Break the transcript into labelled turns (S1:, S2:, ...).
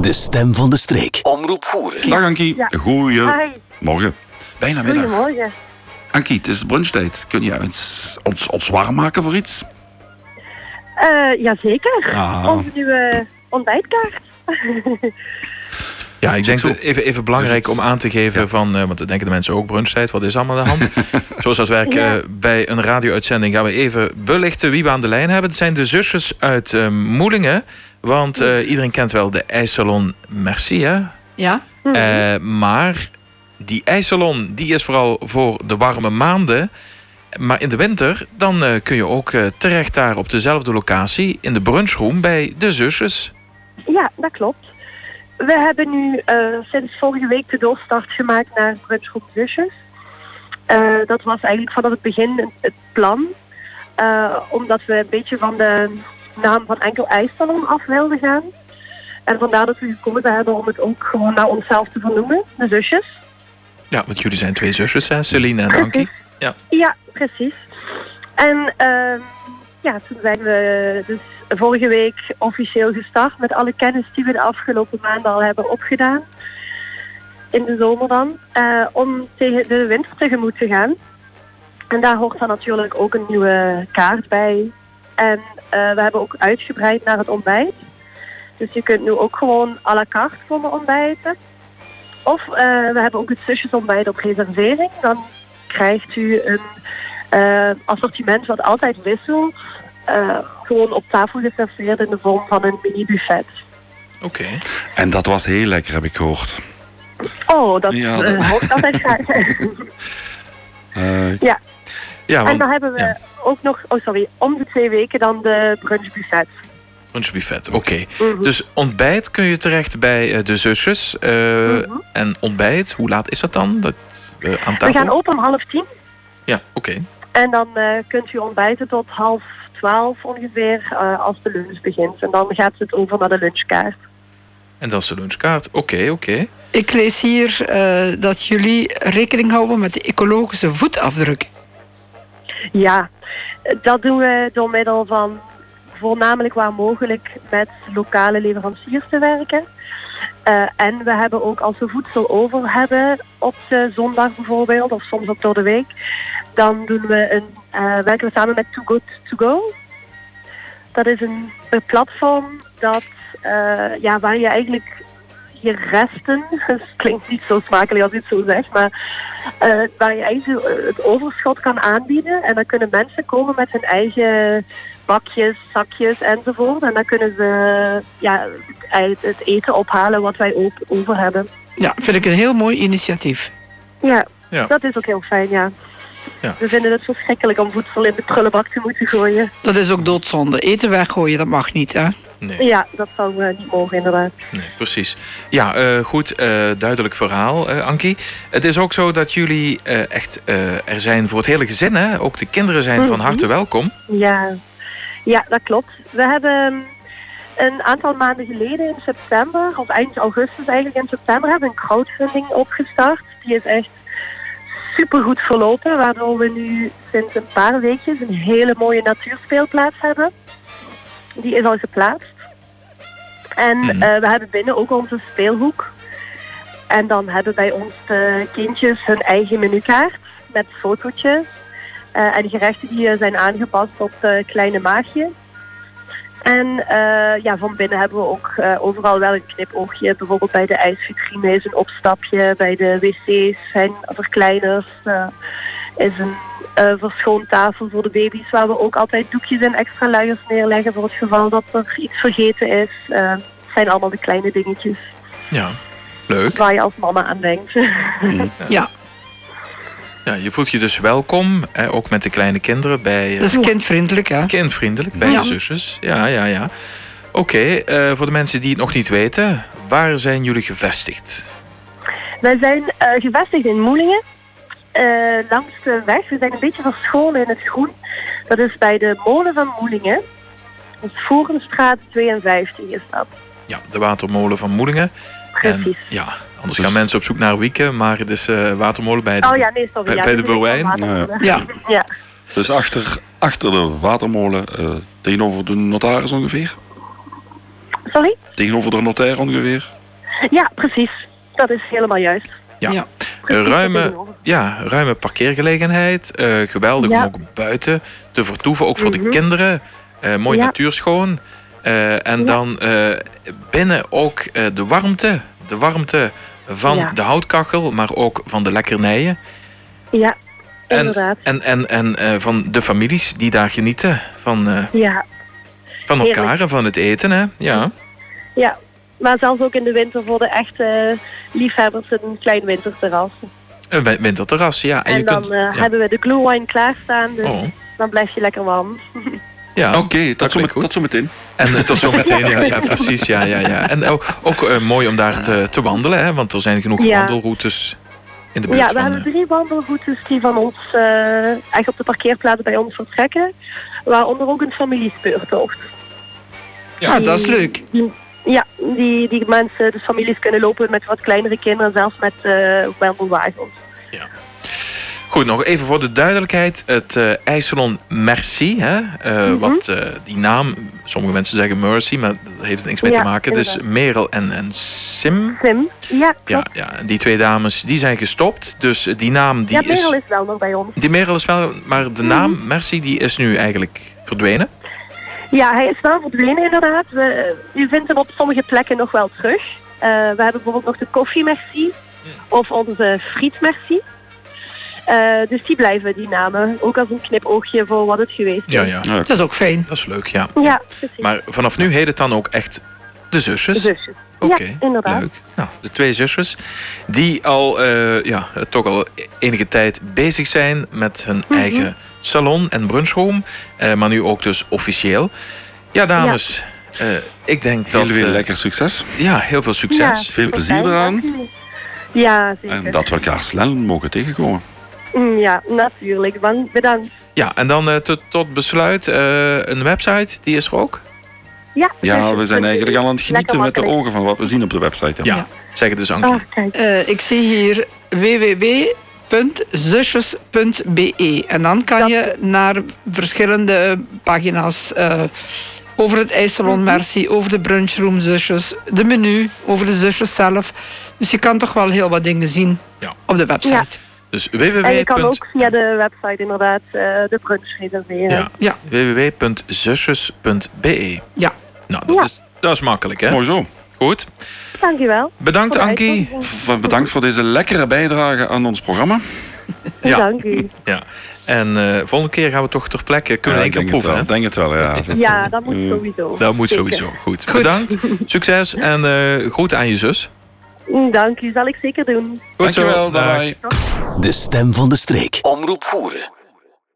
S1: De stem van de streek. Omroep voeren.
S2: Dag Ankie.
S3: Ja. Hi.
S2: Goeiemorgen. Bijna middag.
S3: Goedemorgen.
S2: Ankie, het is brunchtijd. Kun jij ons, ons, ons warm maken voor iets?
S3: Eh jazeker.
S2: Ah.
S3: Onze nieuwe ontbijtkaart.
S4: Ja, ik denk
S2: zo.
S4: dat even, even belangrijk
S2: Dus het-
S4: om aan te geven van, eh, want dan denken de mensen ook brunchtijd, wat is allemaal aan de hand? Zoals dat werkt
S3: Ja.
S4: eh, bij een radio-uitzending gaan we even belichten wie we aan de lijn hebben. Het zijn de zusjes uit eh, Moelingen, want eh, iedereen kent wel de ijssalon Merci, hè?
S5: Ja,
S4: Eh, maar die ijssalon die is vooral voor de warme maanden. Maar in de winter dan eh, kun je ook eh, terecht daar op dezelfde locatie in de brunchroom bij de zusjes.
S3: Ja, dat klopt. We hebben nu eh, sinds vorige week de doorstart gemaakt naar Brunchgroep Zusjes. Eh, dat was eigenlijk vanaf het begin het plan. Eh, omdat we een beetje van de naam van enkel ijssalon af wilden gaan. En vandaar dat we gekozen hebben om het ook gewoon naar onszelf te vernoemen, de zusjes.
S4: Ja, want jullie zijn twee zusjes, hè? Celine en Ankie.
S3: Ja, precies. En ehm, ja, toen zijn we dus vorige week officieel gestart met alle kennis die we de afgelopen maanden al hebben opgedaan. In de zomer dan. eh, om tegen de winter tegemoet te gaan. En daar hoort dan natuurlijk ook een nieuwe kaart bij. En eh, we hebben ook uitgebreid naar het ontbijt. Dus je kunt nu ook gewoon à la carte komen ontbijten. Of eh, we hebben ook het zusjesontbijt op reservering. Dan krijgt u een eh, assortiment wat altijd wisselt. eh, gewoon op tafel geserveerd in de vorm van een mini buffet.
S4: Oké.
S2: En dat was heel lekker, heb ik gehoord.
S3: Oh, dat
S2: Ja,
S3: eh,
S2: dat-
S3: hoort altijd graag.
S2: Eh,
S4: Ja,
S3: en
S4: want
S3: dan hebben we
S4: ja.
S3: ook nog, oh sorry, om de twee weken dan de brunchbuffet. Mhm.
S4: brunchbuffet, oké. Dus ontbijt kun je terecht bij eh, de zusjes. eh, En ontbijt, hoe laat is dat dan? Dat, eh, aan tafel?
S3: Mhm. We gaan open om half tien
S4: Ja, oké.
S3: en dan eh, kunt u ontbijten tot half twaalf ongeveer eh, als de lunch begint. En dan gaat het over naar de lunchkaart.
S4: En dat is de lunchkaart. Oké, oké.
S5: ik lees hier eh, dat jullie rekening houden met de ecologische voetafdruk.
S3: Ja, dat doen we door middel van voornamelijk waar mogelijk met lokale leveranciers te werken. Eh, en we hebben ook als we voedsel over hebben op de zondag bijvoorbeeld, of soms ook door de week, dan doen we een, eh, werken we samen met Too Good To Go. Dat is een, een platform dat, eh, ja, waar je eigenlijk je resten, het klinkt niet zo smakelijk als ik het zo zeg, maar eh, waar je eigenlijk zo, eh, het overschot kan aanbieden. En dan kunnen mensen komen met hun eigen bakjes, zakjes enzovoort. En dan kunnen ze ja, het- het eten ophalen wat wij ook over hebben.
S5: Ja, vind ik een heel mooi initiatief.
S3: Ja,
S4: Ja.
S3: dat is ook heel fijn, ja.
S4: Ja.
S3: We vinden het verschrikkelijk om voedsel in de prullenbak te moeten gooien.
S5: Dat is ook doodzonde. Eten weggooien, dat mag niet, hè?
S4: Nee,
S3: Ja, dat zou eh, niet mogen inderdaad.
S4: nee, precies. Ja, eh, goed, eh, duidelijk verhaal, eh, Ankie. Het is ook zo dat jullie eh, echt eh, er zijn voor het hele gezin, hè? Ook de kinderen zijn van
S3: Mhm.
S4: harte welkom.
S3: Ja. ja, dat klopt. We hebben ehm, een aantal maanden geleden in september, of eind augustus eigenlijk in september, hebben we een crowdfunding opgestart. Die is echt supergoed verlopen, waardoor we nu sinds een paar weekjes een hele mooie natuurspeelplaats hebben. Die is al geplaatst. En
S4: Mhm.
S3: eh, we hebben binnen ook onze speelhoek. En dan hebben bij ons de kindjes hun eigen menukaart met fotootjes. Eh, en de gerechten die eh, zijn aangepast op de kleine maagje. En eh, ja, van binnen hebben we ook eh, overal wel een knipoogje. Bijvoorbeeld bij de ijsvitrine is een opstapje. Bij de wc's zijn verkleiners. eh, is een eh verschoontafel voor de baby's. Waar we ook altijd doekjes en extra luiers neerleggen. Voor het geval dat er iets vergeten is. Eh, het zijn allemaal de kleine dingetjes
S4: Ja, leuk.
S3: waar je als mama aan denkt.
S5: Ja,
S4: Ja, je voelt je dus welkom, hè, ook met de kleine kinderen, bij... eh,
S5: dat is kindvriendelijk, hè?
S4: kindvriendelijk bij
S5: Ja.
S4: de zusjes. Ja, ja, ja. Oké, eh, voor de mensen die het nog niet weten, waar zijn jullie gevestigd?
S3: Wij zijn eh, gevestigd in Moelingen, eh, langs de weg. We zijn een beetje verscholen in het groen. Dat is bij de molen van Moelingen. Dat is Voerenstraat 52 is dat.
S4: Ja, de watermolen van Moelingen.
S3: Precies.
S4: En, ja, anders
S2: Dus-
S4: gaan mensen op zoek naar Wieken, maar het is eh, watermolen bij de...
S3: oh ja, nee, sorry.
S4: bij-
S3: ja,
S4: bij
S3: dat
S4: de eh.
S3: is
S4: Berwijn?
S3: wel water.
S5: Ja,
S3: Ja,
S2: dus achter, achter de watermolen, eh, tegenover de notaris ongeveer.
S3: Sorry?
S2: Tegenover de notair ongeveer.
S3: Ja, precies. Dat is helemaal juist.
S4: Ja.
S5: Ja.
S3: Precies
S4: ruime-
S3: tegenover.
S4: Ja, ruime parkeergelegenheid. eh, geweldig
S3: Ja.
S4: om ook buiten te vertoeven. Ook voor
S3: Mhm.
S4: de kinderen. Eh, mooi
S3: Ja.
S4: natuurschoon. Eh, en
S3: Ja.
S4: dan eh, binnen ook eh, de warmte. De warmte van
S3: Ja.
S4: de houtkachel, maar ook van de lekkernijen.
S3: Ja,
S4: En-
S3: inderdaad.
S4: En, en, en eh, van de families die daar genieten van, eh,
S3: Ja.
S4: van
S3: Heerlijk.
S4: elkaar en van het eten. Hè? Ja.
S3: ja, maar zelfs ook in de winter voor de echte liefhebbers een klein winterterras.
S4: Een win- winterterras, ja.
S3: En, dan eh,
S4: ja.
S3: hebben we de glühwein klaarstaan, dus
S4: Oh,
S3: dan blijf je lekker warm.
S4: ja.
S2: Oké, dat,
S4: klinkt
S2: zo met-
S4: goed.
S2: dat zo meteen.
S4: En eh, tot zometeen, ja, ja, precies. Ja, ja, ja. En ook, ook eh, mooi om daar te, te wandelen, hè, want er zijn genoeg
S3: Ja.
S4: wandelroutes in de buurt.
S3: Ja, we
S4: van,
S3: hebben
S4: eh,
S3: drie wandelroutes die van ons eh, eigenlijk op de parkeerplaats bij ons vertrekken. Waaronder ook een familiespeurtocht.
S4: Ja.
S5: Ah, dat is leuk.
S3: Die- ja, die, die mensen, dus families kunnen lopen met wat kleinere kinderen, zelfs met eh wandelwagens.
S4: Goed, nog even voor de duidelijkheid. Het eh IJsselon Merci, hè, eh,
S3: Mhm.
S4: wat eh, die naam, sommige mensen zeggen Mercy, maar dat heeft er niks mee
S3: Ja,
S4: te maken. Dus
S3: inderdaad.
S4: Merel en, en Sim.
S3: Sim, ja,
S4: Ja,
S3: klopt.
S4: ja, en die twee dames die zijn gestopt. Dus eh, die naam die
S3: Ja, Merel
S4: is.
S3: is wel nog bij ons.
S4: Die Merel is Mhm. wel, maar de naam Merci die is nu eigenlijk verdwenen.
S3: Ja, hij is wel verdwenen inderdaad. We, eh, u vindt hem op sommige plekken nog wel terug. Eh, we hebben bijvoorbeeld nog de koffiemercie of onze frietmercie. Eh dus die blijven, die namen. Ook als een knipoogje voor wat het geweest is.
S4: Ja, ja.
S2: Ja,
S5: Dat is ook fijn.
S4: Dat is leuk, ja.
S3: Ja, precies.
S4: Maar vanaf nu heet het dan ook echt de zusjes.
S3: Zusjes.
S4: Oké,
S3: Ja, inderdaad.
S4: leuk. Nou, de twee zusjes die al eh, ja, eh, toch al enige tijd bezig zijn met hun eigen salon en brunchroom. Eh, maar nu ook dus officieel. Ja, dames. eh, ik denk
S2: heel
S4: dat...
S2: veel
S4: eh,
S2: lekker succes.
S4: Ja, heel veel succes.
S2: Veel
S3: tot
S2: plezier
S3: fijn,
S2: eraan.
S3: natuurlijk. Ja, zeker.
S2: En dat we elkaar snel mogen tegenkomen.
S3: Mm, Ja, natuurlijk. Want- Bedankt.
S4: Ja, en dan eh, tot, tot besluit eh, een website, die is er ook.
S3: Ja,
S2: Ja, we zijn
S3: natuurlijk.
S2: eigenlijk al aan het
S3: Lekker
S2: genieten met de
S3: makkelijk.
S2: ogen van wat we zien op de website.
S4: Ja. Zeg het dus, Ankie.
S3: Ah, kijk.
S5: Eh, ik zie hier www.zusjes.be. En dan kan
S3: Dat-
S5: je naar verschillende pagina's eh, over het IJsselon Merci, over de brunchroom zusjes, de menu, over de zusjes zelf. Dus je kan toch wel heel wat dingen zien
S4: Ja.
S5: op de website.
S3: Ja.
S4: Dus www.
S3: En je kan ook eh, via de website inderdaad eh, de brunch reserveren.
S4: Ja.
S5: Ja.
S4: www.zusjes.be.
S5: Ja.
S4: Nou, dat,
S3: Ja.
S4: is, dat is makkelijk, hè?
S2: Mooi zo.
S4: Goed.
S3: Dankjewel.
S4: Bedankt,
S3: Voor de
S4: Ankie.
S3: uitnodiging.
S2: V- Bedankt voor deze lekkere bijdrage aan ons programma.
S4: Ja.
S3: Dank u.
S4: Ja. En eh, volgende keer gaan we toch ter plekke kunnen
S2: Ja,
S4: we één
S2: ik
S4: keer
S2: denk het
S4: proeven, hè?
S2: wel, denk het wel, ja.
S3: Ja, dat moet sowieso.
S4: Dat moet
S3: Zeker.
S4: sowieso. Goed. Bedankt. Succes en eh groeten aan je zus.
S3: Mm, Dank u, zal ik zeker doen.
S4: Goed
S2: Dankjewel,
S4: Dag.
S2: bye-bye.
S1: De stem van de streek. Omroep Voeren.